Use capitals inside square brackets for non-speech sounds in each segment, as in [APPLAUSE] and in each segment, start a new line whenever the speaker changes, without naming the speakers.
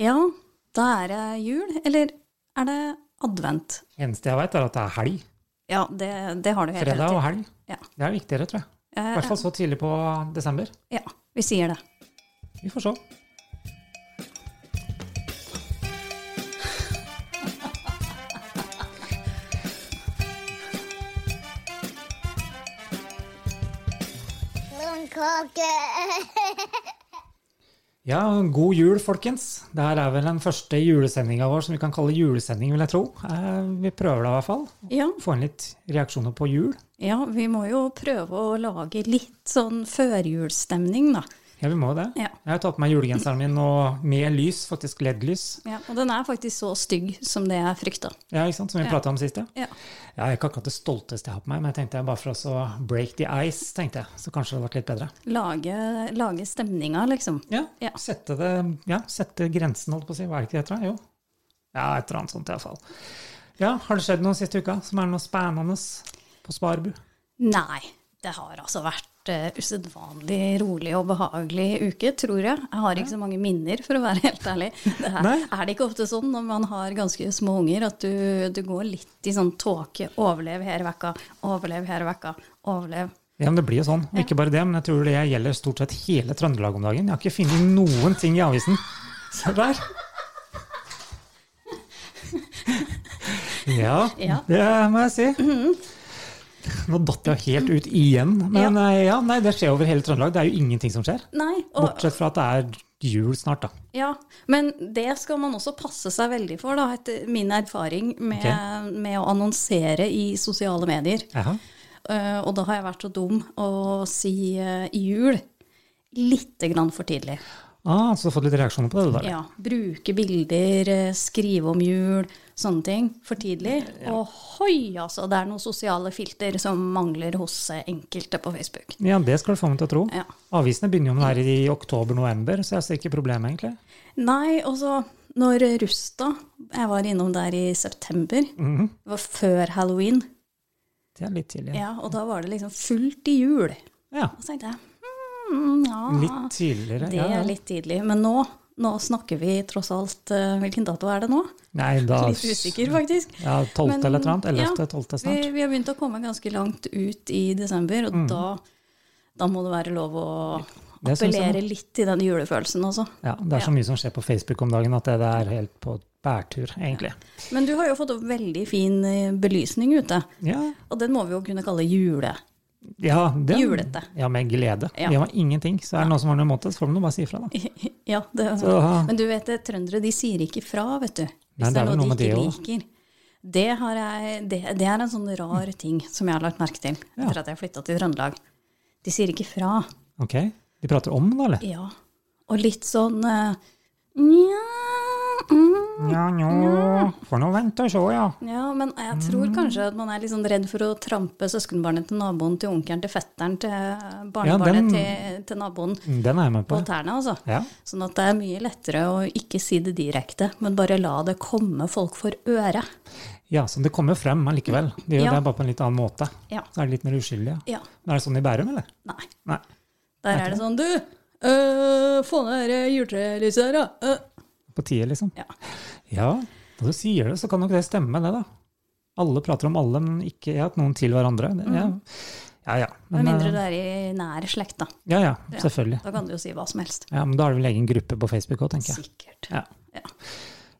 Ja, da er det jul. Eller er det advent?
Eneste jeg veit, er at det er helg.
Ja, det, det har du helt
Fredag
rett
og
i.
helg.
Ja.
Det er viktigere, tror jeg. I
Eh,
hvert fall så tidlig på desember.
Ja, vi sier det.
Vi får se.
Blomkake.
Ja, god jul, folkens. Det her er vel den første julesendinga vår som vi kan kalle julesending, vil jeg tro. Eh, Vi prøver det i hvert fall.
Ja,
Få inn litt reaksjoner på jul.
ja, vi må jo prøve å lage litt sånn førjulsstemning, da.
Ja, vi må jo det.
Ja.
Jeg har tatt på meg julegenseren min og med lys, faktisk LED-lys,
Ja, og den er faktisk så stygg som det jeg frykta.
ja, ikke sant? som vi prata om sist. Ja.
Ja.
Ja, jeg er ikke akkurat det stolteste jeg har på meg, men jeg tenkte bare for oss å break the ice, tenkte jeg. Så kanskje det hadde vært litt bedre.
Lage, lage stemninga, liksom.
Ja,
Ja.
Sette, det, ja, sette grensen, holdt på å si. Hva er det ikke det heter? da? Jo. Ja, et eller annet sånt i hvert fall. Ja, har det skjedd noe siste uka som er noe spennende på Sparbu?
Nei, det har altså vært eh, usedvanlig rolig og behagelig uke, tror jeg. Jeg har ikke så mange minner, for å være helt ærlig. Det er,
Nei.
er det ikke ofte sånn når man har ganske små unger, at du, du går litt i sånn tåke. Overlev her vekka, overlev her vekka, overlev.
Ja, men Det blir jo sånn. Og ikke bare det, men jeg tror det gjelder stort sett hele Trøndelag om dagen. Jeg har ikke funnet noen ting i avisen. Se der. Ja,
Ja.
det må jeg si. Nå datt jeg helt ut igjen. Men eh, ja, nei, det skjer over hele Trøndelag. Det er jo ingenting som skjer.
Nei, og,
Bortsett fra at det er jul snart, da.
ja, men det skal man også passe seg veldig for, da, etter min erfaring med, med å annonsere i sosiale medier.
Jaha.
Eh, og da har jeg vært så dum å si eh, jul lite grann for tidlig.
Ah, så du har fått litt reaksjoner på det? du, da.
Ja, bruke bilder, eh, skrive om jul, sånne ting for tidlig. Og hoi, altså, det er noen sosiale filter som mangler hos eh, enkelte på Facebook.
Ja, det skal du få meg til å tro.
Ja.
Avisene begynner jo med det her i oktober-november, så jeg ser ikke problemet, egentlig.
Nei, og så når Rusta, jeg var innom der i september, det var før halloween,
Mhm. Det er litt tidlig.
ja, og da var det liksom fullt i jul.
Ja,
Og så tenkte jeg, hmm, ja,
Litt tidligere.
det
ja, ja.
er litt tidlig. Men nå, nå snakker vi tross alt, eh, hvilken dato er det nå?
Nei,
[LAUGHS]
da,
Litt usikker faktisk.
Ja, 12.
Men,
eller et eller annet. 11.
ja,
12. snart.
Vi, vi har begynt å komme ganske langt ut i desember, og da, da må det være lov å
Mm. Det synes jeg
appellere litt til den julefølelsen også.
Ja, det er så mye som skjer på Facebook om dagen at det, det er helt på bærtur, egentlig.
Men du har jo fått opp veldig fin eh, belysning ute,
Ja,
og den må vi jo kunne kalle jule.
ja, det,
Julete.
Ja, med glede.
Ja.
Det var ingenting. Så er det noen som har noe imot det, så får de nå bare si ifra, da.
[LAUGHS] ja, det,
Så,
men du vet det, trøndere de sier ikke fra, vet du. Hvis
Nei,
det er noe,
med
de ikke
det
liker. Det, har jeg, det, det er en sånn rar ting som jeg har lagt merke til
Ja.
etter at jeg flytta til Trøndelag. De sier ikke fra.
ok. De prater om det, eller?
Ja. Og litt sånn eh, Nja mm,
Ja, nja. Får nå vente og se, ja.
Ja, men jeg tror kanskje at man er litt sånn redd for å trampe søskenbarnet til naboen, til onkelen, til fetteren, til barnebarnet
den-
til, til naboen
Den er jeg med
på
på.
tærne, altså.
Ja.
Sånn at det er mye lettere å ikke si det direkte, men bare la det komme folk for øret.
ja, så det kommer frem allikevel. De gjør
Ja.
det bare på en litt annen måte.
Ja.
Så er det litt mer uskyldig. Ja.
Ja.
Er det sånn i Bærum, eller?
Nei.
Nei.
Der er det sånn, du, øh, få ned det juletrelyset her, da. øh».
På tide, liksom?
Ja.
Ja, når du sier det, så kan nok det stemme, det, da. Alle prater om alle, men ikke at noen til hverandre. Det, ja. ja, ja.
Mm. Med
Men,
mindre
eh,
du er i nær slekt, da.
ja, ja, selvfølgelig.
Da kan du jo si hva som helst.
Ja, men da er det vel egen gruppe på Facebook òg, tenker jeg.
Sikkert.
Ja.
Ja.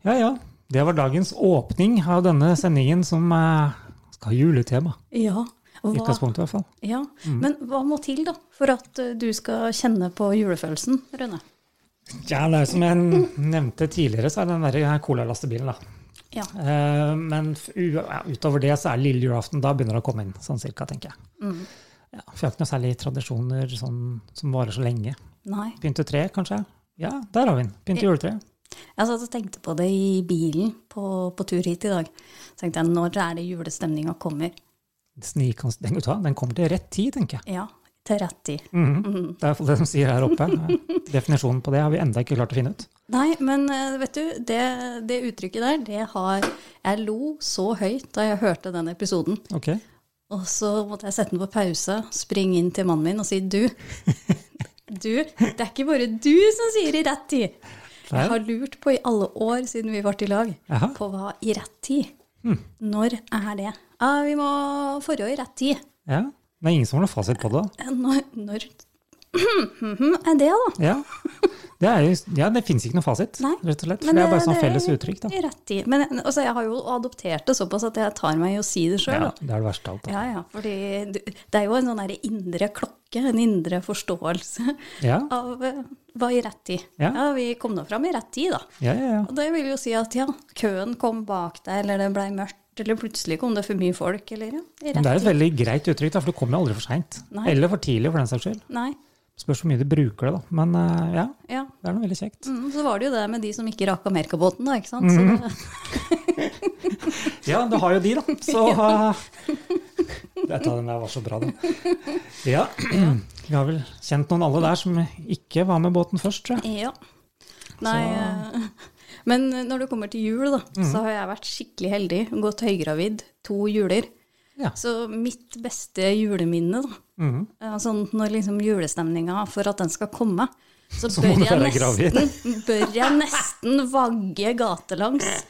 ja, ja. Det var dagens åpning av denne sendingen, som eh, skal ha juletema.
Ja.
I
Hva,
utgangspunktet, i hvert fall.
ja. Men hva må til da, for at eh, du skal kjenne på julefølelsen, Rønne?
Ja, det er jo som jeg nevnte tidligere, så er det den derre colalastebilen, da.
Ja.
Eh, men f- u- ja, utover det så er det lille julaften. Da begynner det å komme inn, sånn cirka, tenker jeg.
Mm.
Ja, for jeg har ikke noe særlig tradisjoner sånn, som varer så lenge.
Nei.
Pynte tre, kanskje? Ja, der har vi den. Pynte juletre.
Jeg satt og tenkte på det i bilen på, på tur hit i dag. Så tenkte jeg, når er det julestemninga kommer?
Snikans- Den, vet du hva, den kommer til rett tid, tenker jeg.
Ja, til rett tid.
Mhm.
Mm.
Det er iallfall det de sier her oppe. [LAUGHS] Definisjonen på det har vi enda ikke klart å finne ut.
Nei, men eh, vet du, det, det uttrykket der, det har Jeg lo så høyt da jeg hørte den episoden.
Ok.
Og så måtte jeg sette den på pause, springe inn [LAUGHS] til mannen min og si du. Du, det er ikke bare du som sier i rett tid. Jeg har lurt på i alle år siden vi var i lag,
Jaha.
på hva i rett tid. Når er det? Ah, vi må forrige i rett tid.
Ja. Det er ingen som har noe fasit på det.
Eh, Når, når [CLEARS THROAT] er det, da?
Ja, det, er jo, ja, det finnes ikke noe fasit,
Nei,
rett og slett.
men
For det er bare
det-
sånn
det er-
felles uttrykk, da.
I rett tid. Men altså, jeg har jo adoptert det såpass at jeg tar meg i å si det sjøl.
Ja, det er det verste av alt. da.
Ja, ja, fordi du- det er jo en sånn der indre klokke, en indre forståelse [LAUGHS]
Ja,
av eh, hva i rett tid.
Ja.
Ja, vi kom nå fram i rett tid, da.
ja, ja. ja.
Og det vil jo si at ja, køen kom bak deg, eller det blei mørkt, eller plutselig kom det for mye folk, eller ja, i
Men det er
rett
et
tid.
veldig greit uttrykk, da, for du kommer jo aldri for seint.
Nei.
Eller for tidlig, for den saks skyld.
Nei,
Spørs hvor mye du bruker det, da. Men eh, ja,
ja.
det er noe veldig kjekt.
Mm, så var det jo det med de som ikke rakk Amerikabåten, da, ikke sant.
Mhm.
Så det,
Ja, du har jo de, da.
[LAUGHS]
Så eh, Dette den der var så bra, den. Ja. [CLEARS THROAT] Vi har vel kjent noen alle der som ikke var med båten først, tror jeg.
ja. Nei, eh, [LAUGHS] men når det kommer til jul, da, så har jeg vært skikkelig heldig. Gått høygravid to juler.
Ja.
Så mitt beste juleminne, da,
Mhm.
eh, sånn når liksom julestemninga for at den skal komme, så
må
bør
du
jeg,
være gravid.
nesten, bør jeg nesten vagge gatelangs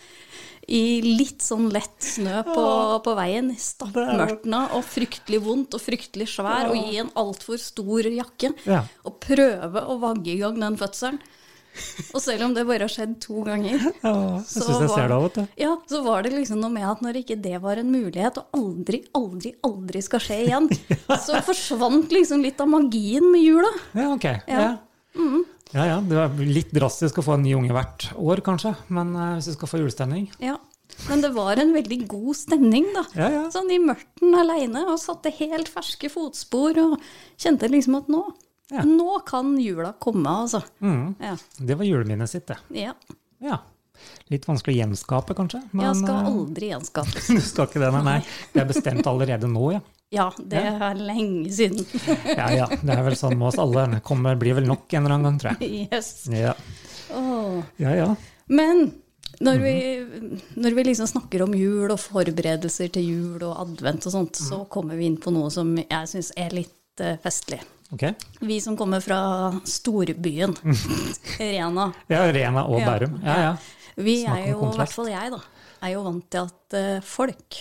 i litt sånn lett snø på, på veien, stappmørtna og fryktelig vondt og fryktelig svær, og i en altfor stor jakke,
Ja.
og prøve å vagge i gang den fødselen. Og selv om det bare har skjedd to ganger,
ja jeg
Så
syns jeg
var-
ser det av og til.
ja, så var det liksom noe med at når ikke det var en mulighet, og aldri, aldri, aldri skal skje
[LAUGHS]
igjen, så forsvant liksom litt av magien med jula.
Ja, ok. Ja. Ja.
Mm-hmm.
ja, Det er litt drastisk å få en ny unge hvert år, kanskje. Men eh, hvis du skal få julestemning
Ja. Men det var en veldig god stemning, da.
Ja, ja.
Sånn i mørten aleine, og satte helt ferske fotspor, og kjente liksom at nå,
Ja.
nå kan jula komme, altså.
Mhm.
Ja.
Det var juleminnet sitt, det.
ja.
Ja. Litt vanskelig å gjenskape, kanskje. Men
Jeg skal
eh,
aldri gjenskapes.
[LAUGHS] du skal ikke det, nei. nei. Det er bestemt allerede nå, ja.
Ja, det er lenge siden. [LAUGHS]
Ja, ja. Det er vel sånn med oss alle. Det kommer, blir vel nok en eller annen gang, tror jeg.
Yes.
Ja,
Åh.
ja. ja.
Men når vi, når vi liksom snakker om jul og forberedelser til jul og advent og sånt, så
Mm.
kommer vi inn på noe som jeg syns er litt eh, festlig.
Ok.
Vi som kommer fra storbyen,
Mm.
[LAUGHS] Rena.
Ja, Rena og
Ja.
Bærum. Ja, ja.
Vi
Snakk om
er jo, i
kontrast.
hvert fall jeg, da, er jo vant til at eh, folk,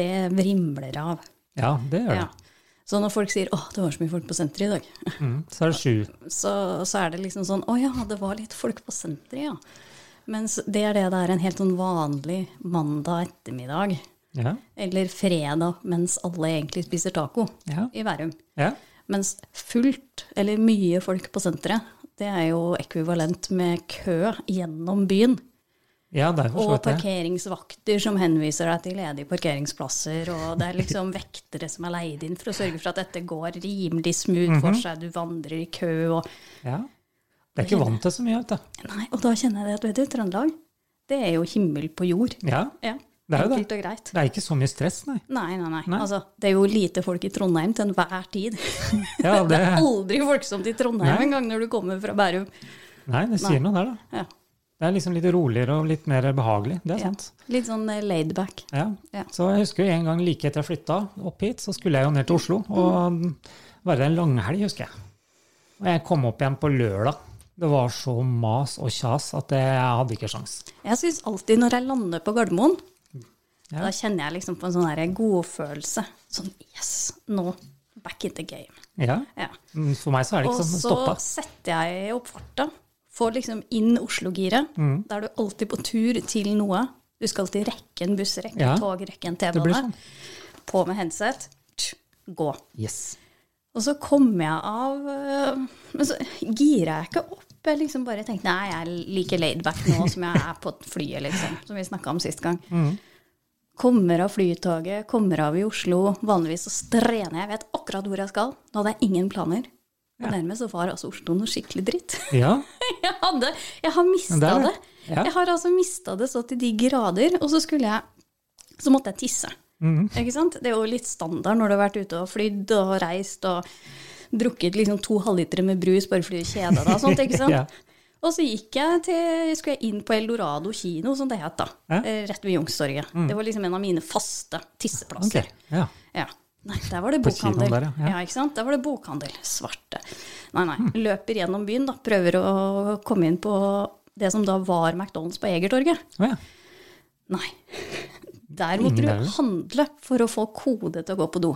det vrimler av.
Ja, det gjør det.
Ja. Så når folk sier 'Å, det var så mye folk på senteret i dag',
Mhm. Så er det sju.
så, så er det liksom sånn 'Å ja, det var litt folk på senteret', ja. Mens det er det det er en helt sånn vanlig mandag ettermiddag.
Ja.
Eller fredag mens alle egentlig spiser taco
Ja.
i Værum.
ja.
Mens fullt eller mye folk på senteret, det er jo ekvivalent med kø gjennom byen.
Ja, det er for
Og
så vidt det.
parkeringsvakter som henviser deg til ledige parkeringsplasser, og det er liksom vektere som er leid inn for å sørge for at dette går rimelig smooth for
Mhm.
seg, du vandrer i kø og
Ja. Det er ikke vant til så mye, vet du.
Nei, og da kjenner jeg det at vet du, Trøndelag, det er jo himmel på jord.
Ja.
Ja,
Det er jo det.
enkelt og greit.
Det er ikke så mye stress, nei.
Nei, nei, nei.
Nei.
Altså, det er jo lite folk i Trondheim til enhver tid. [LAUGHS]
Ja,
Det
det,
er aldri folksomt i Trondheim
Nei.
engang når du kommer fra Bærum.
nei, det sier noe der, da.
Ja.
Det er liksom litt roligere og litt mer behagelig. Det er
Ja.
sant.
Litt sånn eh, laid back.
Ja.
Ja.
Så jeg husker jo en gang like etter jeg flytta opp hit, så skulle jeg jo ned til Oslo og være der en langhelg, husker jeg. Og jeg kom opp igjen på lørdag. Det var så mas og kjas at jeg hadde ikke sjans.
Jeg syns alltid når jeg lander på Gardermoen,
Ja.
da kjenner jeg liksom på en sånn her godfølelse. Sånn yes, nå back in the game.
Ja.
Ja.
Mm, For meg så er det
Og
ikke sånn
så
stoppa.
setter jeg opp farta. Får liksom inn Oslo-giret.
Mm.
Da er du alltid på tur til noe. Du skal alltid rekke en buss, rekke
Ja.
en tog, rekke en
Det blir
T-bane.
sånn.
På med headset. Tsk, Gå.
Yes.
Og så kom jeg av øh, Men så gira jeg ikke opp. Jeg liksom bare tenkte nei, jeg er like laid back nå som jeg er på flyet, liksom. Som vi snakka om sist gang. Kommer av flytoget, kommer av i Oslo. Vanligvis så strener jeg, jeg vet akkurat hvor jeg skal. Da hadde jeg ingen planer. Og dermed så var altså Oslo noe skikkelig dritt. [LAUGHS]
Ja.
Jeg, hadde, jeg har
Men det
mista
er
det.
det. Ja.
Jeg har altså mista det så til de grader. Og så skulle jeg Så måtte jeg tisse.
Mhm.
Ikke sant? Det er jo litt standard når du har vært ute og flydd og reist og drukket liksom to halvlitere med brus bare fordi du kjeda deg og sånt.
[LAUGHS]
ikke sant?
Ja.
Og så gikk jeg til, skulle jeg inn på Eldorado kino, som det het da.
Ja. Mm.
eh, Rett ved Youngstorget. Det var liksom en av mine faste
Ok.
tisseplasser.
Ja.
Ja. Nei, der var det
På kinoen
bokhandel.
der, ja.
ja.
Ja.
ikke sant? Der var det bokhandel. Svarte. Nei, nei. Løper gjennom byen, da. Prøver å komme inn på det som da var McDonald's på Egertorget.
Å ja.
Nei. [LAUGHS] Der måtte
Ingen der.
du handle for å få kode til å gå på do.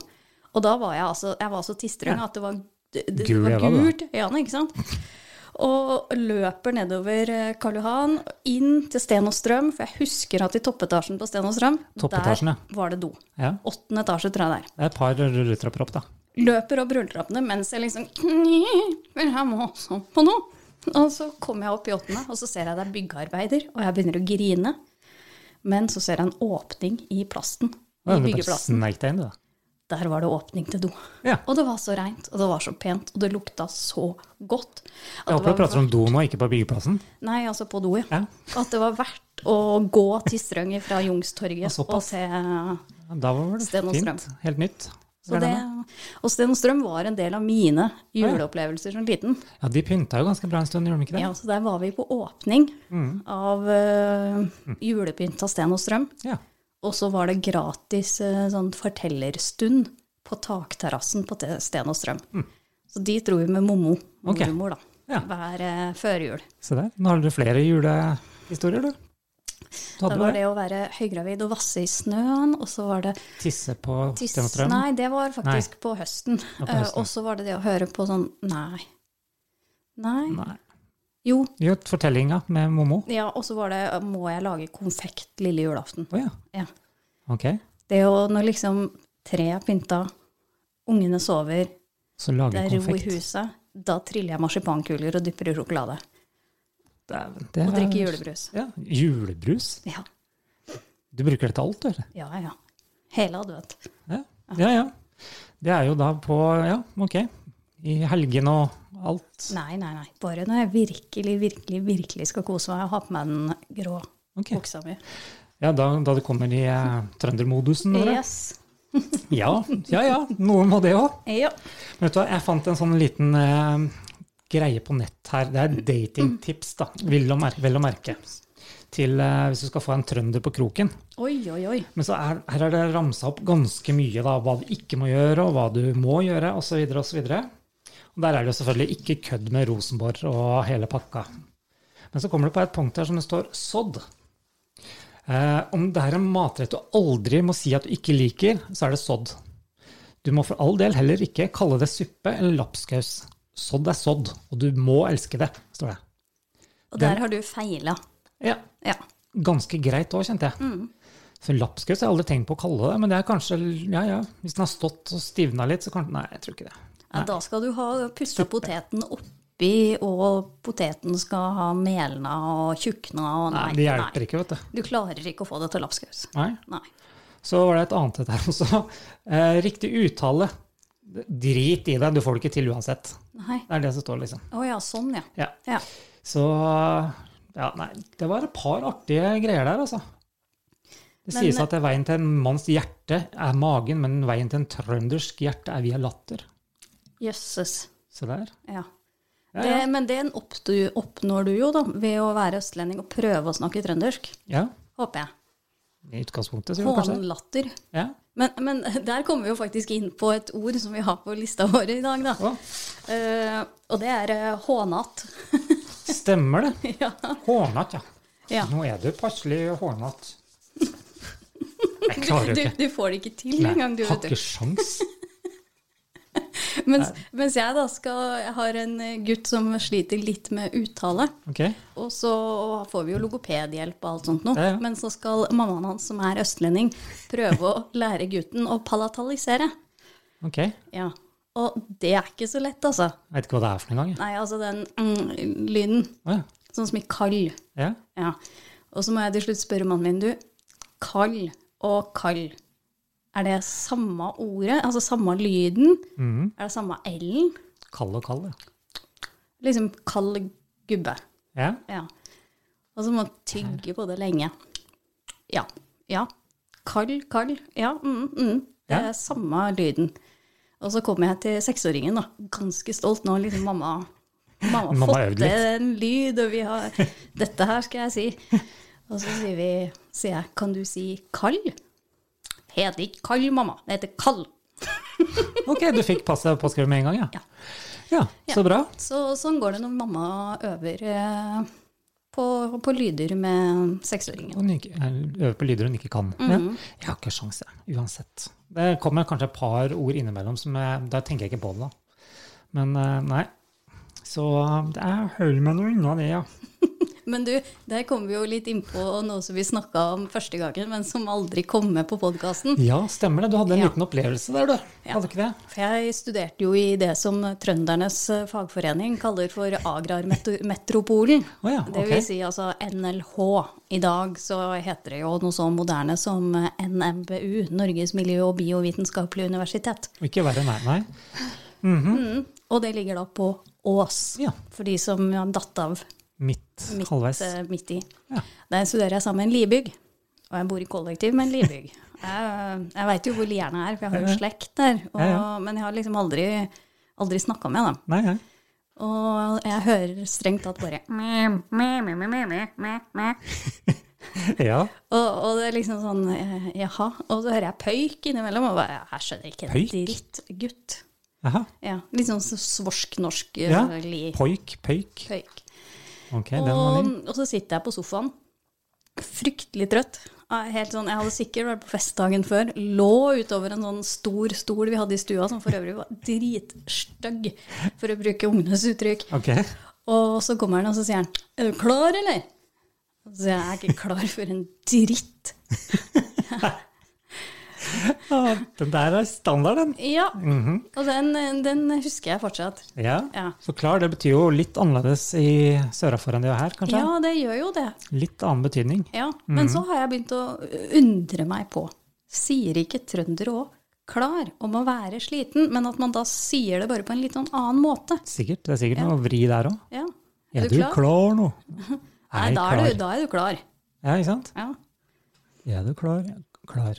Og da var jeg altså Jeg var så tistrøng at det var, det, det
Gul
var
jeg var, da.
gult i øynene, ikke sant? Og løper nedover eh, Karl Johan, inn til Sten og Strøm, for jeg husker at i toppetasjen på Sten og Strøm,
Toppetasjen, ja.
der var det do.
ja.
Åttende etasje, tror jeg det er.
Det er et par rulletrapper opp, da.
løper opp rulletrappene mens jeg liksom [LAUGHS] Men jeg må også på noe. Og så kommer jeg opp i åttende, og så ser jeg det er byggearbeider, og jeg begynner å grine. Men så ser jeg en åpning i plasten. I
Ja, du bare
byggeplassen.
snek deg inn, du, da.
Der var det åpning til do.
Ja.
Og det var så reint, og det var så pent, og det lukta så godt. at
Jeg
det
håper du
var
prater om do nå, ikke på byggeplassen.
Nei, altså på do, ja.
Ja.
At det var verdt å gå til Strønger fra Jungstorget
Ja,
og
såpass.
se
Ja, Da var det
Sten og
fint. Helt nytt.
så det, Og Sten og Strøm var en del av mine
ja.
juleopplevelser som liten.
Ja, de pynta jo ganske bra en stund, gjorde de ikke det?
Ja, så der var vi på åpning
Mm.
av eh, julepynt av Sten og Strøm.
Ja.
Og så var det gratis eh, sånn fortellerstund på takterrassen på te- Sten og Strøm. Så de dro vi med mommo,
Mm. Ok.
mormor, da.
Ja.
Hver eh, førjul.
Se der. Nå har du flere julehistorier, du. Du
Da
hadde
var
bare
det å være høygravid og vasse i snøen, og så var det
tisse på
tiss
Sten og Strøm.
Nei, det var faktisk på høsten.
Ja, på
Eh,
høsten.
og så var det det å høre på sånn Nei. Nei.
Nei.
Jo.
Jo, fortellinga med Momo.
Ja, og så var det eh, Må jeg lage konfekt lille julaften?
Å ja.
Ja.
Ok.
Det er jo når liksom tre er pynta, ungene sover,
Så
det
lage
er ro i
konfekt.
huset, da triller jeg marsipankuler og dypper i sjokolade.
Dæven, det
Og
er-
drikker julebrus.
Ja. Julebrus?
Ja,
Du bruker det til alt, du, eller?
ja, ja. Hele advent.
Ja. ja, ja. Det er jo da på Ja, ok. I helgen og alt.
Nei, nei, nei. Bare når jeg virkelig, virkelig, virkelig skal kose meg og ha på meg den grå
Ok.
buksa mi.
Ja, da, da du kommer i eh, trøndermodusen? eller?
Yes.
Ja, ja, ja. Noe må det òg.
Ja.
Men vet du hva, jeg fant en sånn liten eh, greie på nett her. Det er datingtips, da. Vil og merke, vel å merke. Til eh, hvis du skal få en trønder på kroken.
Oi, oi, oi.
Men så er, her er det ramsa opp ganske mye, da. Hva du ikke må gjøre, og hva du må gjøre, osv., osv. Og der er det jo selvfølgelig ikke kødd med Rosenborg og hele pakka. Men så kommer det på et punkt her som det står 'sådd'. Eh, om det er en matrett du aldri må si at du ikke liker, så er det sådd. Du må for all del heller ikke kalle det suppe eller lapskaus. Sådd er sådd, og du må elske det, står det.
Og
Den-
der har du feila.
Ja,
Ja.
ganske greit òg, kjente jeg.
Mm.
For lapskaus har jeg aldri tenkt på å kalle det, men det er kanskje Ja, ja. Hvis den har stått og stivna litt, så kanskje Nei, jeg tror ikke det.
ja. Da skal du ha pussa poteten oppi, og poteten skal ha melna og tjukna og
Nei,
nei.
Det hjelper
nei.
ikke, vet du.
Du klarer ikke å få det til lapskaus.
Nei.
Nei.
Så var det et annet et her også. Eh, riktig uttale. Drit i det, du får det ikke til uansett.
Nei.
Det er det som står, liksom.
Å ja, sånn, ja.
Ja.
ja.
Så Ja, nei. Det var et par artige greier der, altså. Det
Men-
sies at veien til en manns hjerte er magen, men veien til en trøndersk hjerte er via latter.
Jøsses.
Se der.
Ja.
Ja,
Det,
ja.
men det oppdu- oppnår du jo da, ved å være østlending og prøve å snakke trøndersk,
ja.
håper jeg.
I utgangspunktet, sier du kanskje? det?
Hånlatter.
Ja.
Men, men der kommer vi jo faktisk inn på et ord som vi har på lista vår i dag, da.
Å,
Eh, og det er eh, hånatt.
stemmer det.
[LAUGHS] ja.
Hårnatt, ja.
ja.
Nå er du passelig hårnatt. Jeg klarer
Du,
jo ikke.
du får det ikke til
Nei,
engang, du,
har
vet
ikke
du.
sjans.
Mens, mens jeg da skal, jeg har en eh, gutt som sliter litt med uttale.
Ok.
Og så får vi jo logopedhjelp og alt sånt nå.
Ja, ja.
Men så skal mammaen hans, som er østlending, prøve å [LAUGHS] lære gutten å palatalisere.
ok. Jeg
Ja. Og det er ikke så lett, altså.
vet ikke hva det er for en gang. jeg.
Nei, altså den mm, lyden.
Å,
Sånn som i kall.
ja. Ja.
Ja. Og så må jeg til slutt spørre mannen min, du, kall og kall, er det samme ordet? Altså samme lyden?
Mhm.
Er det samme L-en?
Kall og kall, ja.
Liksom kall gubbe.
ja.
Ja. Og så må man tygge på det lenge. Ja. Ja. Kall, kall. Ja. Mm, mm. Det er
Ja.
samme lyden. Og så kommer jeg til seksåringen, da. Ganske stolt nå. Liksom mamma Mamma
Mamma har
har
øvd
fått
litt.
til en lyd, og vi har Dette her skal jeg si. Og så sier vi Sier jeg, kan du si kall? Heter ikke kall, mamma. Det heter kall.
Ok, du fikk passet påskrevet med en gang, ja.
Ja.
Ja, så bra.
Så sånn går det når mamma øver eh, på, på lyder med seksåringer.
Og nikke- eller øve på lyder hun ikke kan. Men
Mm-hmm.
jeg har ikke sjanse, uansett. Det kommer kanskje et par ord innimellom, som jeg, da tenker jeg ikke på det. da. Men eh, nei. Så eh, det er høl med noe unna det, ja.
Men du, der kom vi jo litt innpå noe som vi snakka om første gangen, men som aldri kom med på podkasten.
Ja, stemmer det. Du hadde en
Ja.
liten opplevelse der, du.
Ja.
Hadde ikke det?
For jeg studerte jo i det som Trøndernes fagforening kaller for agrarmetropolen.
Å ja,
Det
ok.
vil si altså NLH. I dag så heter det jo noe så moderne som NMBU, Norges miljø- og biovitenskapelige universitet.
Og ikke verre, nei. nei.
Og det ligger da på Ås,
Ja.
for de som har datt av
Midt,
midt,
halvveis.
eh, midt i.
Ja.
Der studerer jeg sammen med en libygg. Og jeg bor i kollektiv med en libygg. Jeg, jeg veit jo hvor lierne er, for jeg har
Ja, ja.
jo slekt der. Og,
Ja, ja.
Men jeg har liksom aldri, aldri snakka med dem.
Nei, [LAUGHS] nei.
Og jeg hører strengt tatt bare mæ, mæ, mæ, mæ, mæ, mæ, mæ, mæ.
Ja.
og, og det er liksom sånn eh, jaha. Og så hører jeg pøyk innimellom, og bare, jeg skjønner ikke en
Pøyk?
dritt. Gutt.
Aha.
Ja, Litt sånn svorsk-norsk eh,
Ja.
li-
Poik, pøyk.
pøyk.
Ok, den var
Og,
din.
og så sitter jeg på sofaen, fryktelig trøtt. Jeg er Helt sånn, jeg hadde sikkert vært på fest dagen før. Lå utover en sånn stor stol vi hadde i stua, som for øvrig var dritstygg, for å bruke ungenes uttrykk.
Ok. [LAUGHS]
Og så kommer han, og så sier han 'Er du klar, eller?' Og Så sier jeg 'Jeg er ikke klar for en dritt'.
Ja, Ah, den der er standard, den.
Ja, Og den, den husker jeg fortsatt.
Ja.
Ja.
Så klar, det betyr jo litt annerledes i sørafor enn det gjør her, kanskje?
Ja, det gjør jo det.
Litt annen betydning.
Ja,
Mhm.
Men så har jeg begynt å undre meg på Sier ikke trøndere òg 'klar' om å være sliten, men at man da sier det bare på en litt sånn annen måte?
Sikkert. Det er sikkert noe vri der òg.
Ja.
Er du klar nå?
[LAUGHS] Nei, da er, du, da er du klar.
Ja, ikke sant?
Ja,
Er du klar? Klar.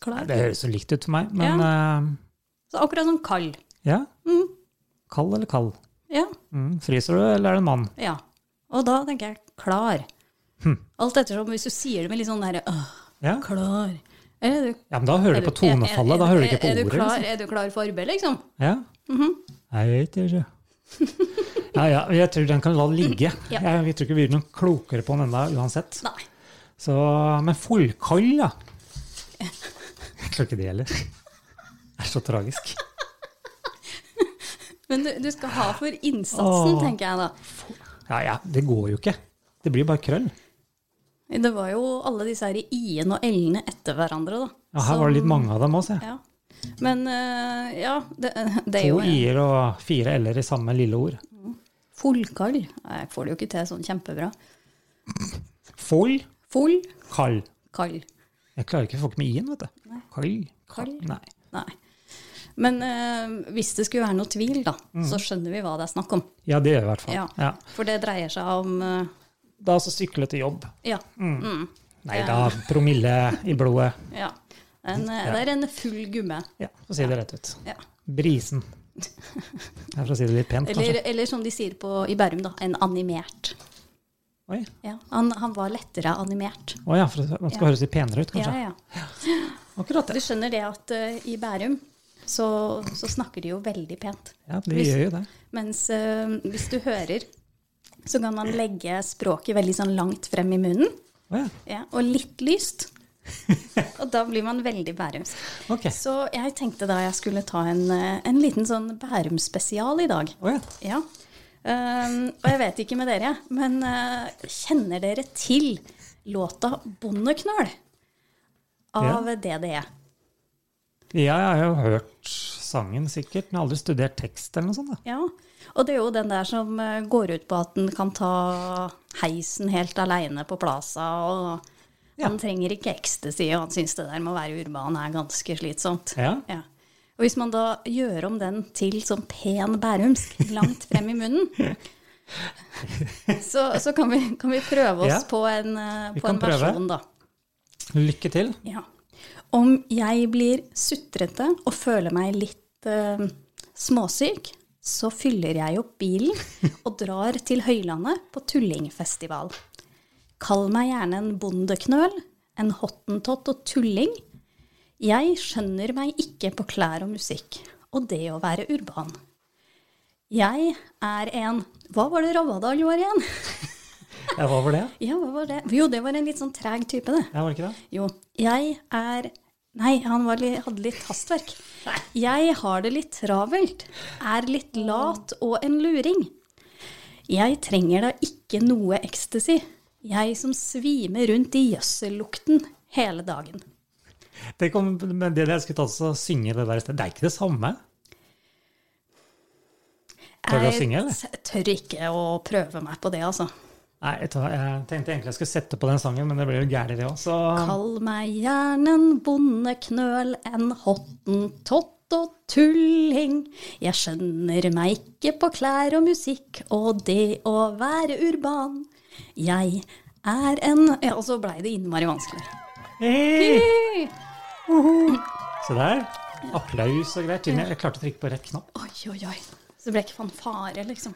klar.
Det høres jo likt ut for meg, men
Så akkurat som kald.
eh, ja.
Mm.
Kald eller kald?
Ja.
Mm, fryser du, eller er det en mann?
Ja. Og da tenker jeg klar.
Hm.
Alt ettersom hvis du sier det med litt sånn derre «Åh,
Ja.
klar. Er du,
ja, men da hører du på tonefallet, da hører du ikke på
er, er, er, er du klar- Er
ordet. liksom.
du klar for arbeid, liksom?
Ja. Jeg vet
[LAUGHS]
ikke. Ja, ja, jeg tror den kan la det ligge.
Ja.
Jeg, jeg tror ikke vi blir noe klokere på den ennå, uansett.
Nei.
Så, men fullkall, da. Jeg klarer ikke det heller. Det er så tragisk.
Men du, du skal ha for innsatsen,
Åh.
tenker jeg da.
Ja, ja, det går jo ikke. Det blir bare krøll.
Det var jo alle disse her i-en og l-ene etter hverandre, da.
Ja, her var det litt mange av dem òg,
Som-
jeg.
Ja. Men eh, ja, det, det er
To
jo
i-er og fire l-er i samme lille ord.
Fullkall. Jeg får det jo ikke til sånn kjempebra.
Full,
Full,
kall.
kall.
Jeg klarer ikke folk med i-en, vet du. Kall. Kall.
Kall.
Nei.
Nei. Men eh, hvis det skulle være noe tvil, da,
Mm.
så skjønner vi hva det er snakk om.
Ja, det gjør jeg i
Ja.
hvert fall. Ja.
For det dreier seg om eh,
Da så sykle til jobb.
Ja. Mm.
Nei da, promille i blodet.
ja. En, eh, Det er en full gumme.
Ja, for å si det rett ut.
Ja.
Brisen. Det er for å si det litt pent, kanskje.
Eller, eller som de sier på, i Bærum, da, en animert.
Oi.
Ja. Han, han var lettere animert.
Å ja, for man skal høres litt penere ut,
Ja,
kanskje.
ja.
Akkurat
Du
det.
skjønner det at eh, i Bærum så, så snakker de jo veldig pent.
Ja, de
Hvis-
gjør jo det.
Mens eh, hvis du hører, så kan man legge språket veldig sånn langt frem i munnen.
Å ja.
Ja, og litt lyst. Og da blir man veldig bærumsk.
Ok.
Så jeg tenkte da jeg skulle ta en, eh, en liten sånn Bærum-spesial i dag.
Å ja.
Ja. Ehm, og jeg vet ikke med dere, men eh, kjenner dere til låta 'Bondeknøl' av E. DDE?
Ja, jeg har jo hørt sangen sikkert, men jeg har aldri studert tekst eller noe sånt. da.
Ja. Og det er jo den der som eh, går ut på at en kan ta heisen helt aleine på Plaza, og
Ja.
han trenger ikke ecstasy, og han syns det der med å være urban er ganske slitsomt.
Ja.
Ja. Og hvis man da gjør om den til sånn pen bærumsk langt frem i
[LAUGHS]
munnen, så, så kan, vi, kan vi prøve oss
Ja.
på en, eh,
Vi
på en
kan prøve.
versjon, da.
Lykke til.
Ja. Om jeg blir sutrete og føler meg litt eh, småsyk, så fyller jeg opp bilen og drar til Høylandet på tullingfestival. Kall meg gjerne en bondeknøl, en hottentott og tulling. Jeg skjønner meg ikke på klær og musikk, og det å være urban. Jeg er en Hva var det Ravadal var igjen?
Det var vel det?
Ja, hva var det? Jo, det var en litt sånn treg type, det.
Ja, var det ikke det?
Jo, jeg er Nei, han var, li- hadde litt hastverk. Jeg har det litt travelt, er litt lat og en luring. Jeg trenger da ikke noe ecstasy, jeg som svimer rundt i gjødsellukten hele dagen.
Tenk om men det jeg skulle tatt og synge det der i sted. Det er ikke det samme. Tør du å
Jeg
synge, eller?
s- Tør ikke å prøve meg på det, altså.
Nei, vet du hva, jeg tenkte egentlig jeg skulle sette på den sangen, men det ble jo gærent det òg, så
Kall meg gjerne en bondeknøl, en hottentott og tulling. Jeg skjønner meg ikke på klær og musikk og det å være urban. Jeg er en Ja, og så blei det innmari vanskelig.
Hei! Se der. Applaus og greier. Til og med Jeg klarte å trykke på rett knapp.
Oi, oi, oi. Så det ble ikke fanfare, liksom.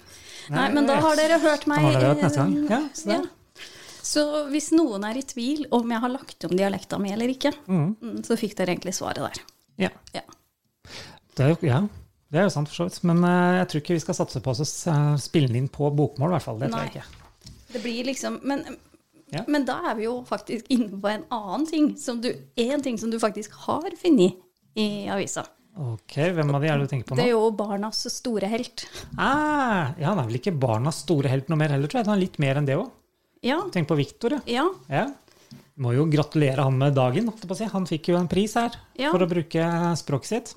Nei, men da har dere hørt
Da
meg.
har dere hørt
eh,
neste gang. Ja, så der.
ja. Så hvis noen er i tvil om jeg har lagt om dialekta mi eller ikke, mm, så fikk dere egentlig svaret der.
Ja.
Ja.
Det er jo, ja. Det er jo sant, for så vidt. Men eh, jeg tror ikke vi skal satse på å s- eh, spille den inn på bokmål, i hvert fall. Det tror jeg
Nei.
ikke.
Det blir liksom Men,
Ja.
men da er vi jo faktisk inne på en annen ting som du, en ting som du faktisk har funnet i avisa.
Ok, Hvem av de er det du tenker på
Det
nå?
er jo barnas store helt.
Ah, ja, Han er vel ikke barnas store helt noe mer heller, tror jeg. Han er litt mer enn det òg.
Ja.
Tenk på Viktor, ja.
ja.
ja. Må jo gratulere han med dagen. holdt jeg på å si. Han fikk jo en pris her
Ja. Mm.
for å bruke språket sitt.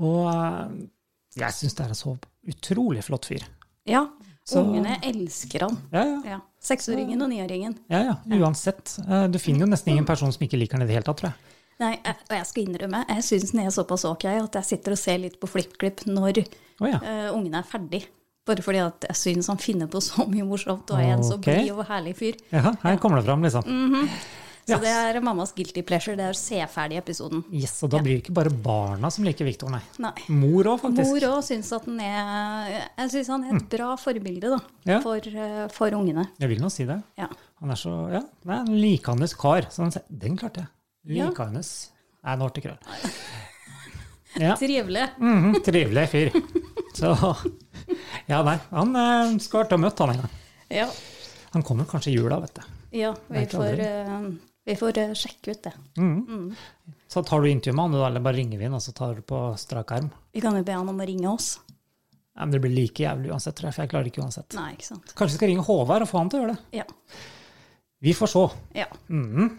Og eh, jeg syns det er en så utrolig flott fyr.
ja.
Så-
Ungene elsker han.
Ja, ja.
Ja. Seksåringen og niåringen.
ja, ja. Uansett. Eh, Du finner jo nesten ingen person som ikke liker han i det hele tatt, tror jeg.
Nei, jeg- og jeg skal innrømme, jeg syns den er såpass ok at jeg sitter og ser litt på FlippKlipp når
Å ja.
eh, ungene er ferdig. Bare fordi at jeg syns han finner på så mye morsomt og er en så
Ok.
blid og herlig fyr.
ja. Her kommer det fram, liksom.
Så
Ja.
det er mammas guilty pleasure, det er å se ferdig episoden.
Yes, Og da blir det ikke bare barna som liker Viktor, nei.
Nei.
Mor òg, faktisk.
Mor
Mm.
òg syns at den er Jeg syns han er et bra forbilde da,
Ja.
for, eh, for ungene.
Jeg vil nå si det.
Ja.
Han er så ja, nei, en likehandes kar. Så han sier, den klarte jeg.
Ja.
Likehandes. Nei, nå ble det krøll. Ja.
Trivelig.
mhm, trivelig fyr. Så Ja, nei. Han eh, skulle vært og møtt han en gang.
Ja.
Han kommer kanskje i jula, vet du.
ja vi,
Vet aldri.
får, eh, vi får eh, sjekke ut det.
Så tar du intervju med han, du, da, eller bare ringer vi han, og så tar du på strak arm.
Vi kan jo be han om å ringe oss.
Ja, men det blir like jævlig uansett, tror jeg, for jeg klarer ikke uansett.
Nei, ikke sant.
Kanskje vi skal ringe Håvard og få han til å gjøre det.
Ja.
Vi får se.
ja.
Mhm.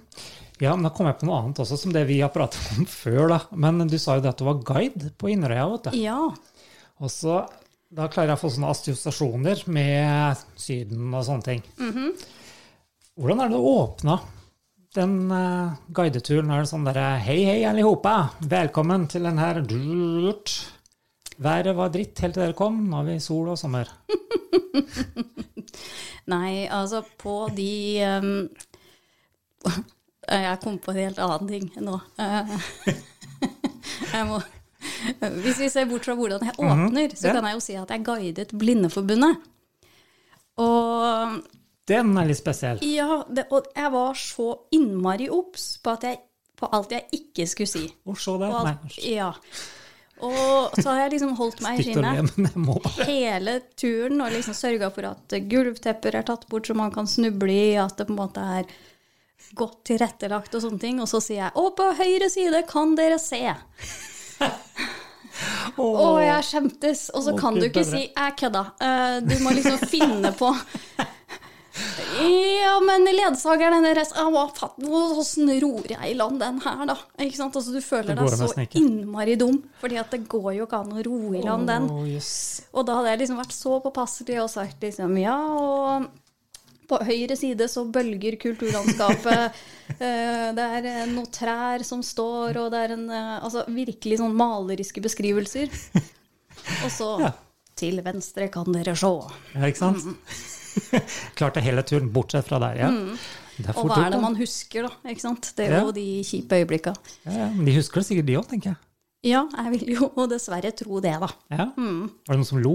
Ja, men da kom jeg på noe annet også, som det vi har pratet om [LAUGHS] før, da. Men du sa jo det at du var guide på Inderøya, vet du.
ja.
Og så da klarer jeg å få sånne assosiasjoner med Syden og sånne ting.
Mhm.
Hvordan er det du åpna den eh, guideturen? Er det sånn derre Hei, hei, alle hopa. Velkommen til den her durt. Været var dritt helt til dere kom. Nå har vi sol og sommer.
Nei, altså på de ehm, [LAUGHS] Jeg kom på en helt annen ting nå. Eh, [LAUGHS] jeg må, hvis vi ser bort fra hvordan jeg åpner, så
Mhm. ja.
kan jeg jo si at jeg guidet Blindeforbundet. Og
Den er litt spesiell.
ja, det, og jeg var så innmari obs på, at jeg- på alt jeg ikke skulle si.
Å, se der.
Og,
Nei,
alt, ja. og så har jeg liksom holdt meg i
Viktor
skinnet
le, men [LAUGHS] jeg må bare
hele turen og liksom sørga for at gulvtepper er tatt bort så man kan snuble i, at det på en måte er godt tilrettelagt og sånne ting. Og så sier jeg 'Å, på høyre side kan dere se'. Å, jeg skjemtes. Og så
Å,
kan
Gud
du ikke
bedre.
si 'jeg kødda'. Eh, Du må liksom finne på [LAUGHS] ja, men ledsageren deres «Au, hva fatt- Hvordan ror jeg i land den her, da? Ikke sant? Altså, du føler
Det går
deg så
nesten ikke.
innmari dum, fordi at det går jo ikke an å ro i land den.
Å, jøss.
Og da hadde jeg liksom vært så påpasselig og sagt liksom ja, og på høyre side så bølger
[LAUGHS]
kulturlandskapet. eh, det er eh, noen trær som står, og det er en eh, Altså virkelig sånn maleriske beskrivelser. Og så
Ja.
til venstre kan dere se.
Ja, ikke sant?
Mm.
[LAUGHS] Klarte hele turen, bortsett fra der, ja. Det
Mm.
er
Og
fort
hva
gjort,
er det
da.
man husker, da? ikke sant? Det er jo
Ja.
de kjipe øyeblikka.
Ja, ja, men de husker det sikkert, de òg, tenker jeg.
Ja, jeg vil jo [LAUGHS] dessverre tro det, da.
Ja. Var det noen som lo?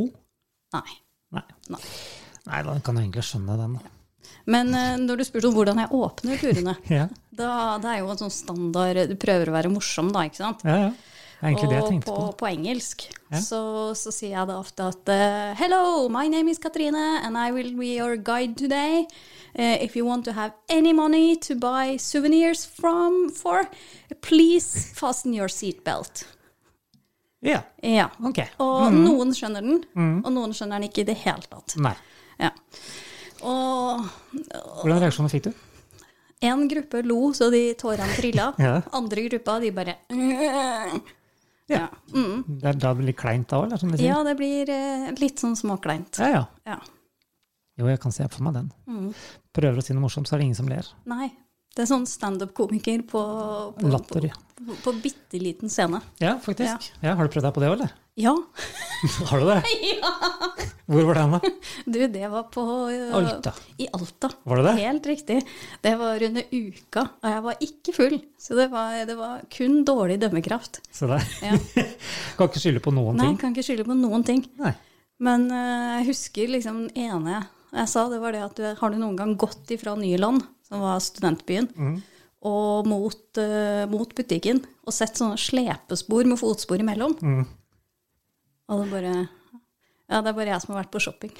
Nei.
Nei.
Mm. Nei.
Nei, da kan jeg egentlig skjønne den. da.
Men eh, når du spurte om hvordan jeg åpner turene
Ja,
Da, det er jo en sånn standard Du prøver å være morsom, da, ikke sant?
ja, ja. Det er egentlig det jeg
og
tenkte
på,
på.
på engelsk
Ja.
så, så sier jeg da ofte at eh, Hello, my name is Katrine, and I will be your guide today. Eh, if you want to have any money to buy souvenirs from for, please fasten your seatbelt.
Ja,
Ja.
ok.
Og
Mm.
noen skjønner den, og noen skjønner den ikke i det hele tatt.
Nei.
Ja. Og
Hvordan reaksjoner fikk du?
en gruppe lo så de tårene trilla,
Ja.
andre gruppa de bare
Ja. Det er da det blir kleint da òg, som de sier?
Mm. Ja, det blir eh, litt sånn småkleint.
Ja, ja.
Ja.
Jo, jeg kan se for meg den.
Mm.
Prøver å si noe morsomt, så er det ingen som ler.
Nei. Det er sånn standup-komiker på, på,
Latter, ja.
på, på bitte liten scene.
Ja, faktisk. Ja. har du prøvd deg på det òg, eller? [LAUGHS]
Ja.
Har
[LAUGHS]
du det? Ja! Hvor var den, da?
Du, det var på eh,
Alta.
I Alta.
Var det det?
Helt riktig. Det var under uka, og jeg var ikke full. Så det var, det var kun dårlig dømmekraft.
Se der.
Ja.
[LAUGHS] Kan ikke skylde på noen
Nei,
ting.
jeg kan ikke skylde på noen ting.
Nei.
Men eh, jeg husker liksom den ene jeg sa, det var det at du, har du noen gang gått ifra Nyland, som var studentbyen,
Mhm.
og mot, eh, mot butikken, og sett sånne slepespor med fotspor imellom?
Mhm.
Og det bare Ja, det er bare jeg som har vært på shopping.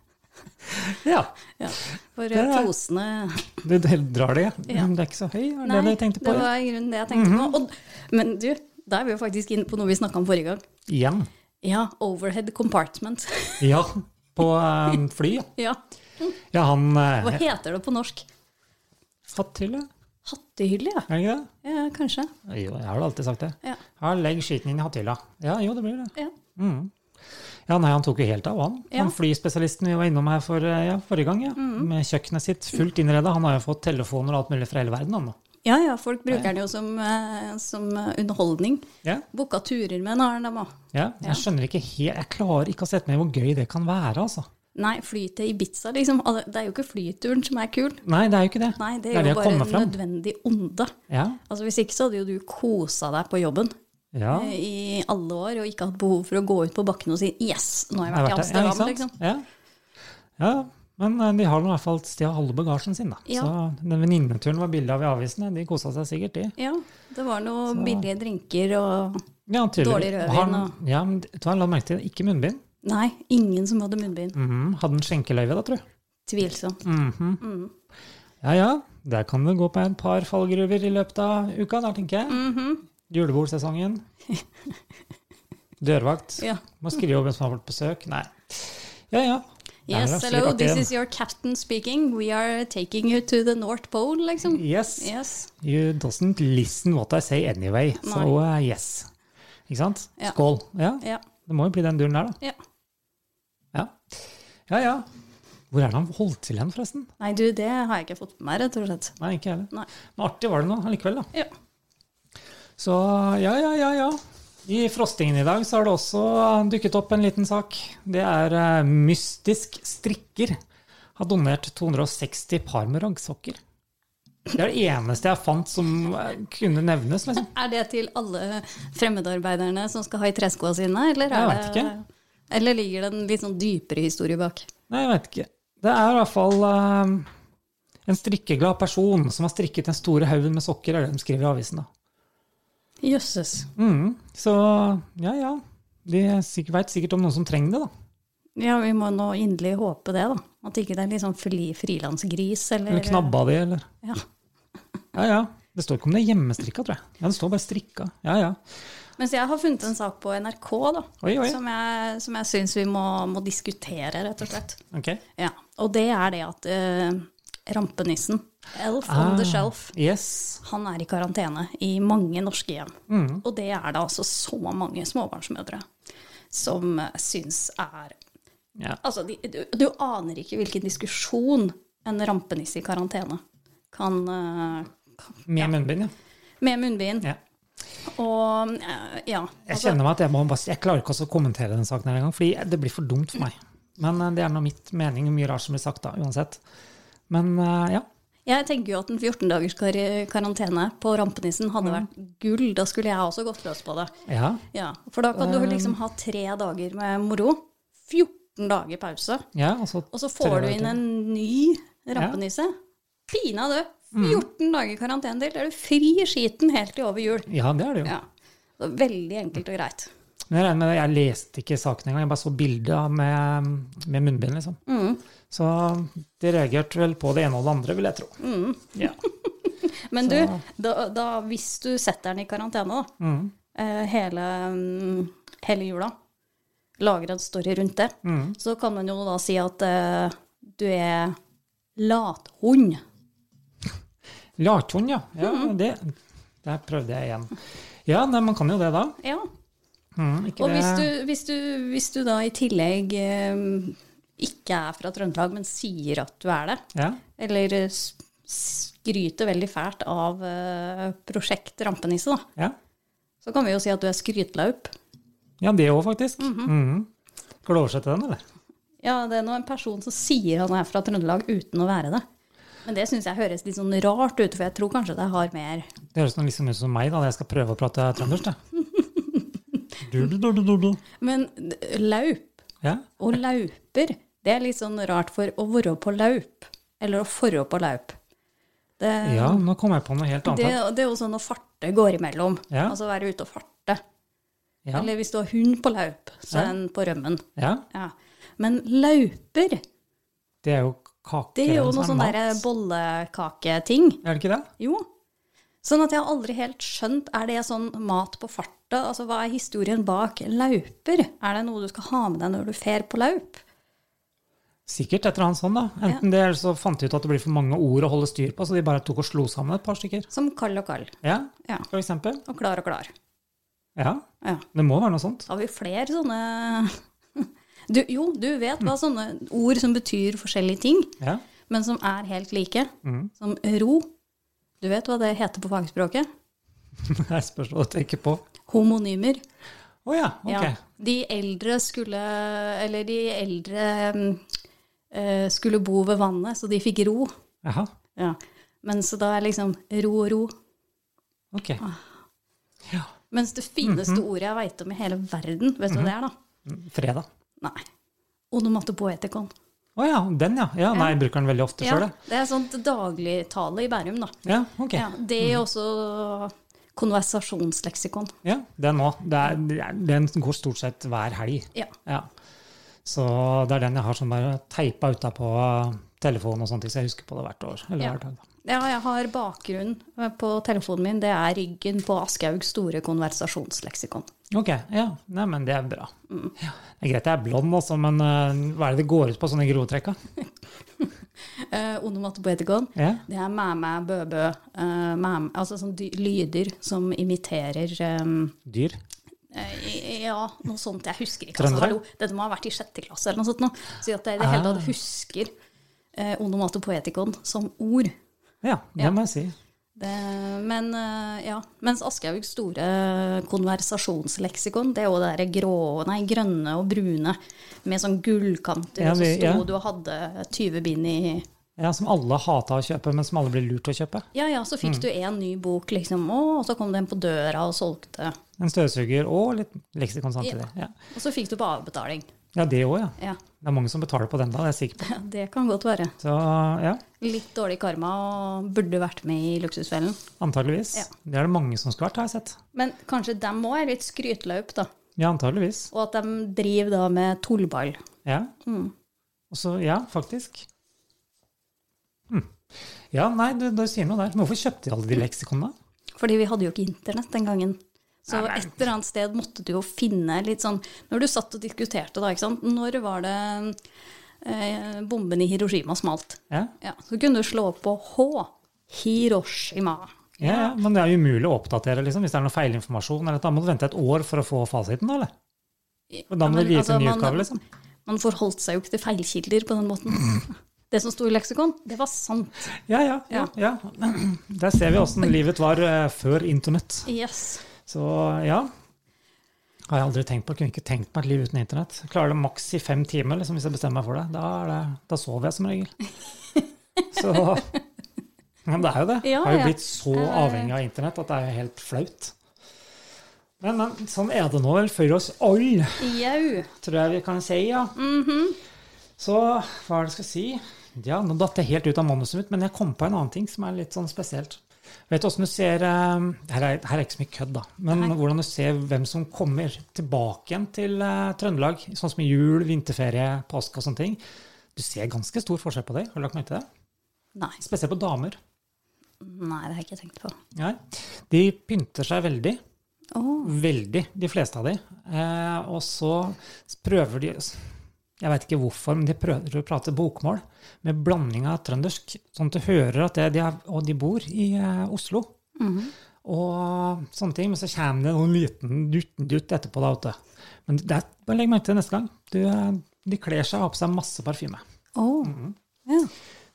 [LAUGHS]
Ja,
Ja, for
er-
eh, posene
du drar det, ja.
Ja.
Men det er ikke så høy, er det
Nei,
det jeg tenkte på? Mhm.
det var i grunnen det jeg tenkte på. Og, men du, da er vi jo faktisk inne på noe vi snakka om forrige gang.
Igjen.
Ja, overhead compartment. [LAUGHS]
Ja, på eh, fly. ja.
ja.
Ja, han
Hva
eh,
heter det på norsk?
Hatthylle,
Hattehylle, ja.
er det ikke det?
Ja, kanskje.
Jo, jeg har vel alltid sagt det.
Ja.
Ja, legg skiten inn i hatthylla. Ja, jo, det blir det. Mm.
Ja.
Ja, nei, han tok jo helt av, han.
Ja.
Han flyspesialisten vi var innom her for, eh, ja, forrige gang, ja. Med kjøkkenet sitt fullt innreda. Han har jo fått telefoner og alt mulig fra hele verden, han nå.
Ja, ja, folk bruker den jo som, eh, som eh, underholdning.
Ja,
Boka turer med den har den dem òg.
ja. Jeg skjønner ikke helt Jeg klarer ikke å sette meg inn i hvor gøy det kan være, altså.
Nei, fly til Ibiza, liksom. Al- Det er jo ikke flyturen som er kul.
Nei, det er jo ikke det.
Nei, det er jo
å
bare
komme fram.
nødvendig onde.
Ja.
Altså Hvis ikke så hadde jo du kosa deg på jobben
ja.
eh, i alle år og ikke hatt behov for å gå ut på bakken og si 'yes, nå har jeg
Jeg har
vært i
vært der.
Amsterdam'. liksom.
Ja, ikke sant? Ja. ja. Men eh, de har nå i hvert fall et sted å holde bagasjen sin, da.
Ja.
Så den venninneturen var bilde av i avisen, ja. de kosa seg sikkert, de.
Ja, det var noen billige drinker og
Ja, tydeligvis.
Dårlig rødvin
Han-
og-
Ja, men vet du hva, la merke til det. Ikke munnbind.
Nei, ingen som hadde munnbind.
Mhm, Hadde en skjenkeløyve, da, tro.
Tvilsomt. Mm.
Ja ja, der kan det gå på et par fallgruver i løpet av uka, der, tenker jeg.
Mhm. [LAUGHS]
Julebordsesongen. Dørvakt.
Ja.
Må skrive om hvem som har vært på besøk. Nei. Ja ja. Der er
Yes,
det
hello,
slik
this
at
is your captain speaking. We are taking you to the North Pole, liksom.
Yes.
Yes.
You doesn't listen what I say anyway. So uh, yes. Ikke sant?
Ja.
Skål. Ja.
Ja.
Det må jo bli den duren der, da.
ja.
Ja ja. ja. Hvor er det han holdt til hen, forresten?
Nei, du, det har jeg ikke fått med meg, rett og slett.
Nei, ikke heller.
Nei.
Men artig var det nå allikevel, da.
Ja.
Så ja, ja, ja, ja. I frostingen i dag så har det også dukket opp en liten sak. Det er eh, Mystisk Strikker har donert 260 par med raggsokker. Det er det eneste jeg fant som eh, kunne nevnes, liksom.
Er det til alle fremmedarbeiderne som skal ha i treskoa sine, eller er
Jeg vet
det
ikke.
Eller ligger det en litt sånn dypere historie bak?
Nei, jeg vet ikke. Det er i hvert fall eh, en strikkeglad person som har strikket den store haugen med sokker, er det de skriver i avisen, da.
Jøsses.
Mm, så ja, ja. De sikk- vet sikkert om noen som trenger det, da.
Ja, vi må nå inderlig håpe det, da. At ikke det er litt sånn fri, frilansgris eller
Eller knabba de, eller
Ja.
Ja, ja. Det står ikke om det er hjemmestrikka, tror jeg. Ja, det står bare strikka. Ja, ja.
Mens jeg har funnet en sak på NRK, da.
Oi, oi.
Som jeg, som jeg syns vi må, må diskutere, rett og slett.
Ok.
Ja. Og det er det at eh, rampenissen, Elf on
Ah.
the Shelf,
Yes.
Han er i karantene i mange norske hjem. Og det er det altså så mange småbarnsmødre som eh, syns er
Ja.
Altså, de, du, du aner ikke hvilken diskusjon en rampenisse i karantene kan eh, kan-
Med munnbind, ja.
Med munnbind.
ja.
Og eh, ja.
Jeg
altså-
kjenner meg at jeg, må bare, jeg klarer ikke også å kommentere den saken her engang, fordi det blir for dumt for meg. Men eh, det er nå mitt mening, mye rart som blir sagt da, uansett. Men eh, ja.
Jeg tenker jo at en 14 dagers kar karantene på rampenissen hadde vært gull. Da skulle jeg også gått løs på det.
Ja.
Ja, For da kan du liksom ha tre dager med moro. 14 dager pause.
ja altså,
Og så får du inn en ny rampenisse. Pinadø! 14 dager karantene til. Da er du fri i skiten helt til over jul.
Ja, det er det jo.
Ja. Det var veldig enkelt og greit.
Men jeg regner med det, jeg leste ikke saken engang, jeg bare så bildet av med, med munnbind, liksom.
Mm.
Så de reagerte vel på det ene og det andre, vil jeg tro.
Mm.
Ja.
Men du, da, da, hvis du setter den i karantene da, eh, hele, mm, hele jula, lager en story rundt det, så kan man jo da si at eh, du er lathund.
Lathund, ja. ja
Mm.
det, der prøvde jeg igjen. Ja, nei, man kan jo det da.
Ja.
Mm, ikke
Og
det-
hvis du, hvis, du, hvis du da i tillegg eh, ikke er fra Trøndelag, men sier at du er det,
Ja.
eller eh, s- skryter veldig fælt av eh, prosjekt Rampenisse, da,
Ja.
så kan vi jo si at du er skrytlaup.
ja, det òg, faktisk. Mhm. Skal du oversette den, eller?
Ja, det er nå en person som sier han er fra Trøndelag uten å være det. Men det syns jeg høres litt sånn rart ut, for jeg tror kanskje det har mer
Det høres noe liksom ut som meg da, når jeg skal prøve å prate trøndersk.
[LAUGHS]
da. Du, du, du, du, du, du.
Men d- laup
Ja.
og lauper, det er litt sånn rart for å være på laup, eller å forre på laup. Det,
ja, nå kom jeg på noe helt annet.
det,
her.
det er jo sånn å farte går imellom.
Ja.
Altså være ute og farte.
Ja.
Eller hvis du har hund på laup, så
Ja.
er den på rømmen.
ja,
Ja. Men lauper,
det er jo kaker.
det er jo noe
som
sånn
mat.
derre bollekaketing.
Er det ikke det?
Jo. Sånn at jeg har aldri helt skjønt Er det sånn mat på farta? Altså, hva er historien bak lauper? Er det noe du skal ha med deg når du fer på laup?
Sikkert etter han sånn, da. Enten det, eller så fant de ut at det blir for mange ord å holde styr på, så de bare tok og slo sammen et par stykker.
Som kall og kall.
Ja,
Ja.
for eksempel.
Og klar og klar.
Ja,
Ja.
det må være noe sånt.
Da har vi flere sånne [LAUGHS] du, Jo, du vet hva sånne ord som betyr forskjellige ting,
Ja, [LAUGHS]
men som er helt like. Som ro. Du vet hva det heter på fagspråket?
Det spørs hva du tenker på.
Homonymer.
Å ja, ok.
Ja. De eldre skulle Eller de eldre mm, eh, skulle bo ved vannet, så de fikk ro.
Jaha,
Ja. Men så da er liksom ro og ro.
ok.
Ah.
Ja,
Mens det fineste ordet jeg veit om i hele verden, vet du hva det er, da?
fredag.
Nei. Onomatopoetikon.
Å ja, den ja. Ja, nei, jeg bruker den veldig ofte sjøl,
Ja, det er sånt dagligtale i Bærum, da.
jeg. Ja, ok.
Ja, det er også konversasjonsleksikon.
Ja, den òg. Det er- det er- Den går stort sett hver helg.
Ja.
Ja. Så det er den jeg har som bare teipa utapå eh, telefonen og sånne ting, så jeg husker på det hvert år. Eller
Ja.
hver dag. da.
ja, jeg har bakgrunn eh, på telefonen min. Det er ryggen på Aschehougs store konversasjonsleksikon.
Ok, ja. Nei, men det er bra. Ja. Det er greit jeg er blond, altså, men eh, hva er det det går ut på sånne grovtrekk? da?
Eh, onomatopoetikon.
Ja.
Det er mæmæ, bøbø, eh, mæm- altså sånne dy- lyder som imiterer eh,
Dyr?
eh, Ja, noe sånt. Jeg husker ikke.
Trøndere?
Altså, hallo, dette må ha vært i sjette klasse eller noe sånt. nå. Så at jeg i det hele
Ah.
tatt husker eh, onomatopoetikon som ord.
Ja, det må jeg si.
Det, men eh, ja, mens Aschehougs store konversasjonsleksikon, det er jo det der grå, nei, grønne og brune med sånn gullkanter,
Ja,
og så
det-
sto
ja.
du og hadde 20 bind i
Ja, Som alle hata å kjøpe, men som alle ble lurt til å kjøpe.
Ja ja, så fikk du én ny bok, liksom, å, og så kom den på døra og solgte.
En støvsuger og litt leksikon samtidig. Ja,
Og så fikk du på avbetaling.
ja det òg, ja.
Ja, [LAUGHS]
Det er mange som betaler på den, da, det er jeg [LAUGHS] sikker på.
det kan godt være.
Så ja,
Litt dårlig karma og burde vært med i Luksusfellen.
antageligvis.
Ja.
Det er det mange som skulle vært, har jeg sett.
Men kanskje dem òg er litt skrytlaup, da.
Ja, antageligvis.
Og at de driver da med tullball.
Ja. Og så, ja, faktisk. Hm. Ja, nei, du, du sier noe der. Men hvorfor kjøpte de alle de leksikonene?
Fordi vi hadde jo ikke internett den gangen. Så et eller annet sted måtte du jo finne litt sånn Når du satt og diskuterte, da, ikke sant Når var det eh, bomben i Hiroshima smalt?
Ja.
Ja, så kunne du slå opp på H. Hiroshima.
Ja, ja, men det er jo umulig å oppdatere liksom, hvis det er noe feilinformasjon. Eller, da må du vente et år for å få fasiten, da? eller? Og da
Ja,
må
men
du gi ut
altså,
en ny
man-
utgave, liksom?
Man forholdt seg jo ikke til feilkilder på den måten. Det som sto i leksikon, det var sant.
Ja, ja. ja, ja. Der ser vi åssen livet var eh, før internett.
Yes.
Så ja. Har jeg aldri tenkt på. Kunne ikke tenkt meg et liv uten internett. Jeg Klarer det maks i fem timer liksom, hvis jeg bestemmer meg for det. Da, er det. da sover jeg som regel. Så ja, Men det er jo det.
Ja,
Jeg har
ja.
jo blitt så avhengig av internett at det er jo helt flaut. Men, men sånn er det nå vel for oss alle,
Jau.
tror jeg vi kan si, ja. Så hva er det jeg skal si? Ja, nå datt jeg helt ut av manuset mitt, men jeg kom på en annen ting som er litt sånn spesielt. Vet du hvordan du ser eh, her er, her er ikke så mye kødd, da. Men hvordan du ser hvem som kommer tilbake igjen til eh, Trøndelag, sånn som i jul, vinterferie, påske og sånne ting. Du ser ganske stor forskjell på det. Har du lagt merke til det?
Nei,
Spesielt på damer.
nei, det har jeg ikke tenkt på.
Ja. De pynter seg veldig.
Å,
Veldig, de fleste av de. Eh, og så prøver de Jeg veit ikke hvorfor, men de prøver å prate bokmål med blanding av trøndersk, sånn at du hører at det, de er, og de bor i eh, Oslo. Mhm. Og sånne ting. Men så kommer det noen liten dutt etterpå. da, vet du. Men det er bare legg merke til neste gang. Du, eh, de kler seg og har på seg masse parfyme.
å.
Mm-hmm.
Ja.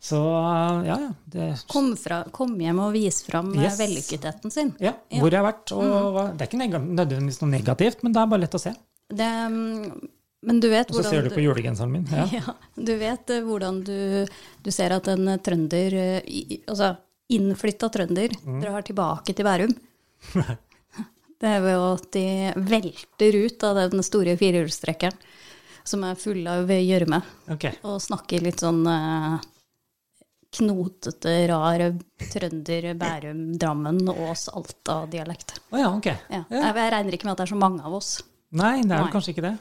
Så eh, ja, ja. Det,
Kom, fra, kom hjem og vis fram eh,
Yes.
vellykketheten sin.
ja, Mhm. hvor jeg har vært. Og, hva- Det er ikke neg nødvendigvis noe negativt, men det er bare lett å se.
Det, mm, men du vet
Og så
hvordan
ser du på julegenseren min. [LAUGHS] Ja.
Ja, du vet eh, hvordan du, du ser at en eh, trønder, eh, i- i- altså innflytta trønder, drar tilbake til Bærum. [LAUGHS] Det er ved at de velter ut av den store firehjulstrekkeren som er full av gjørme,
Ok.
og snakker litt sånn eh, knotete, rar trønder, Bærum, Drammen, Ås, Alta-dialekt.
Å ja, ok.
Ja.
Ja.
Jeg, jeg regner ikke med at det er så mange av oss,
Nei, det er vel
Nei.
kanskje ikke det.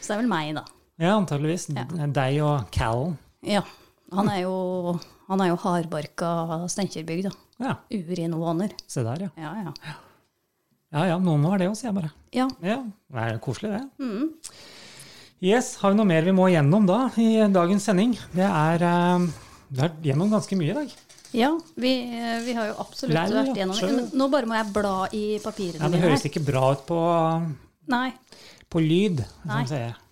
så det er vel meg, da.
Ja, antageligvis. Deg og Callen.
Ja. Han er jo, han er jo hardbarka Steinkjerbygd, da.
Ja,
Urinnvåner.
se der, ja.
Ja, ja.
Ja ja, noen må ha det òg, sier jeg bare.
Ja,
Ja, det er koselig, det.
Mm.
Yes, har vi noe mer vi må gjennom da i dagens sending? Det er eh, Vi har vært gjennom ganske mye i dag.
ja vi, vi har jo absolutt
Lær, ja,
vært gjennom
skjønner.
Men Nå bare må jeg bla i papirene
Ja, det
mine.
høres ikke bra ut på,
Nei.
på lyd.
Nei.
Som sier.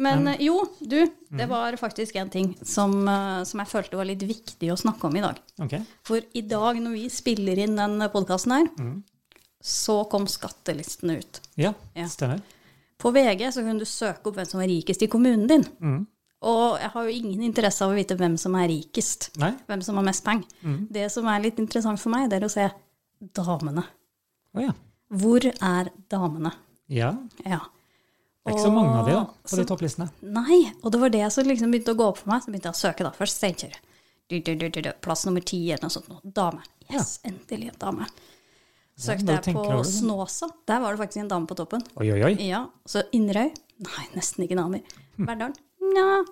Men eh, jo, du,
Mhm.
det var faktisk en ting som, eh, som jeg følte var litt viktig å snakke om i dag.
Ok.
For i dag, når vi spiller inn den podkasten her,
Mhm.
så kom skattelistene ut.
Ja,
Ja.
stemmer.
På VG så kunne du søke opp hvem som var rikest i kommunen din.
Mhm.
Og jeg har jo ingen interesse av å vite hvem som er rikest.
Nei?
hvem som har mest penger.
Mm.
Det som er litt interessant for meg, det er å se damene.
Å ja.
Hvor er damene?
ja.
Ja.
Det er ikke så mange av de da, på
Så-
de topplistene.
Nei, og det var det som liksom begynte å gå opp for meg. Så begynte jeg å søke, da. Først Steinkjer. Du, du, du, du, du. Plass nummer ti eller noe sånt. noe. Dame. Yes, endelig en dame. Søkte
bare
jeg
tenker
på
over det, da.
Snåsa. Der var det faktisk en dame på toppen.
Oi, oi, oi.
Ja, Så Inderøy? Nei, nesten ikke damer. Verdalen? Nja.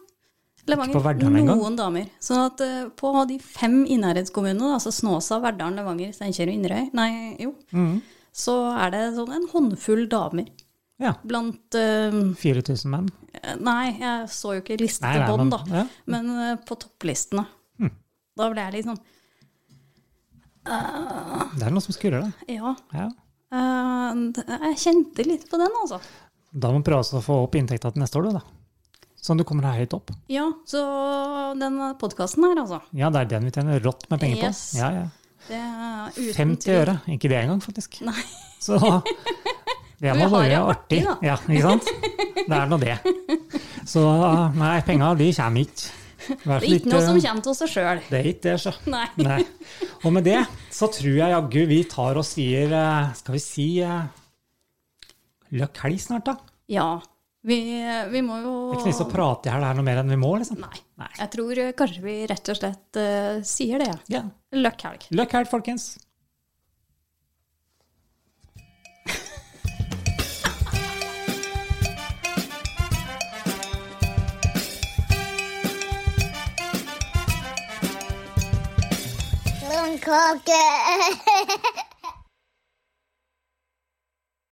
Levanger?
Hm. Ikke på Verdalen engang?
Noen damer. Sånn at eh, på de fem innherredskommunene, altså Snåsa, Verdalen, Levanger, Steinkjer og Inderøy, nei, jo,
Mm.
så er det sånn en håndfull damer.
Ja.
Blant eh,
4000 menn.
Nei, jeg så jo ikke
Nei, nei,
listebånd, da,
men- Hm. ja.
men eh, på topplistene. Da ble jeg litt sånn
Det er noe som skurrer, da.
Ja.
Ja.
eh, jeg kjente litt på den, altså.
Da må du prøve også å få opp inntekta til neste år, du, da. Sånn du kommer deg høyt opp.
Ja, så den podkasten her, altså.
Ja, det er den vi tjener rått med penger på.
Yes.
Ja, ja.
Det er uten
50
tvil.
øre. Ikke det engang, faktisk.
Nei.
Så
[LAUGHS]
det
Vi
må
har
være
jo
artig.
artig, da.
Ja, ikke sant? Det er nå det. Så nei, penga de kommer ikke. Vær så
Det er
litt,
ikke noe som
eh,
kommer til seg sjøl.
Det er ikke det, så.
[LAUGHS] Nei.
Nei. Og med det så tror jeg jaggu vi tar og sier eh, Skal vi si eh, løkk helg snart, da?
Ja. Vi, vi må jo
Det er ikke noe vits å prate her det er noe mer enn vi må, liksom.
Nei.
Nei.
Jeg tror eh, kanskje vi rett og slett eh, sier det.
Ja.
Løkk helg.
Løkk helg, folkens.
Blomkake!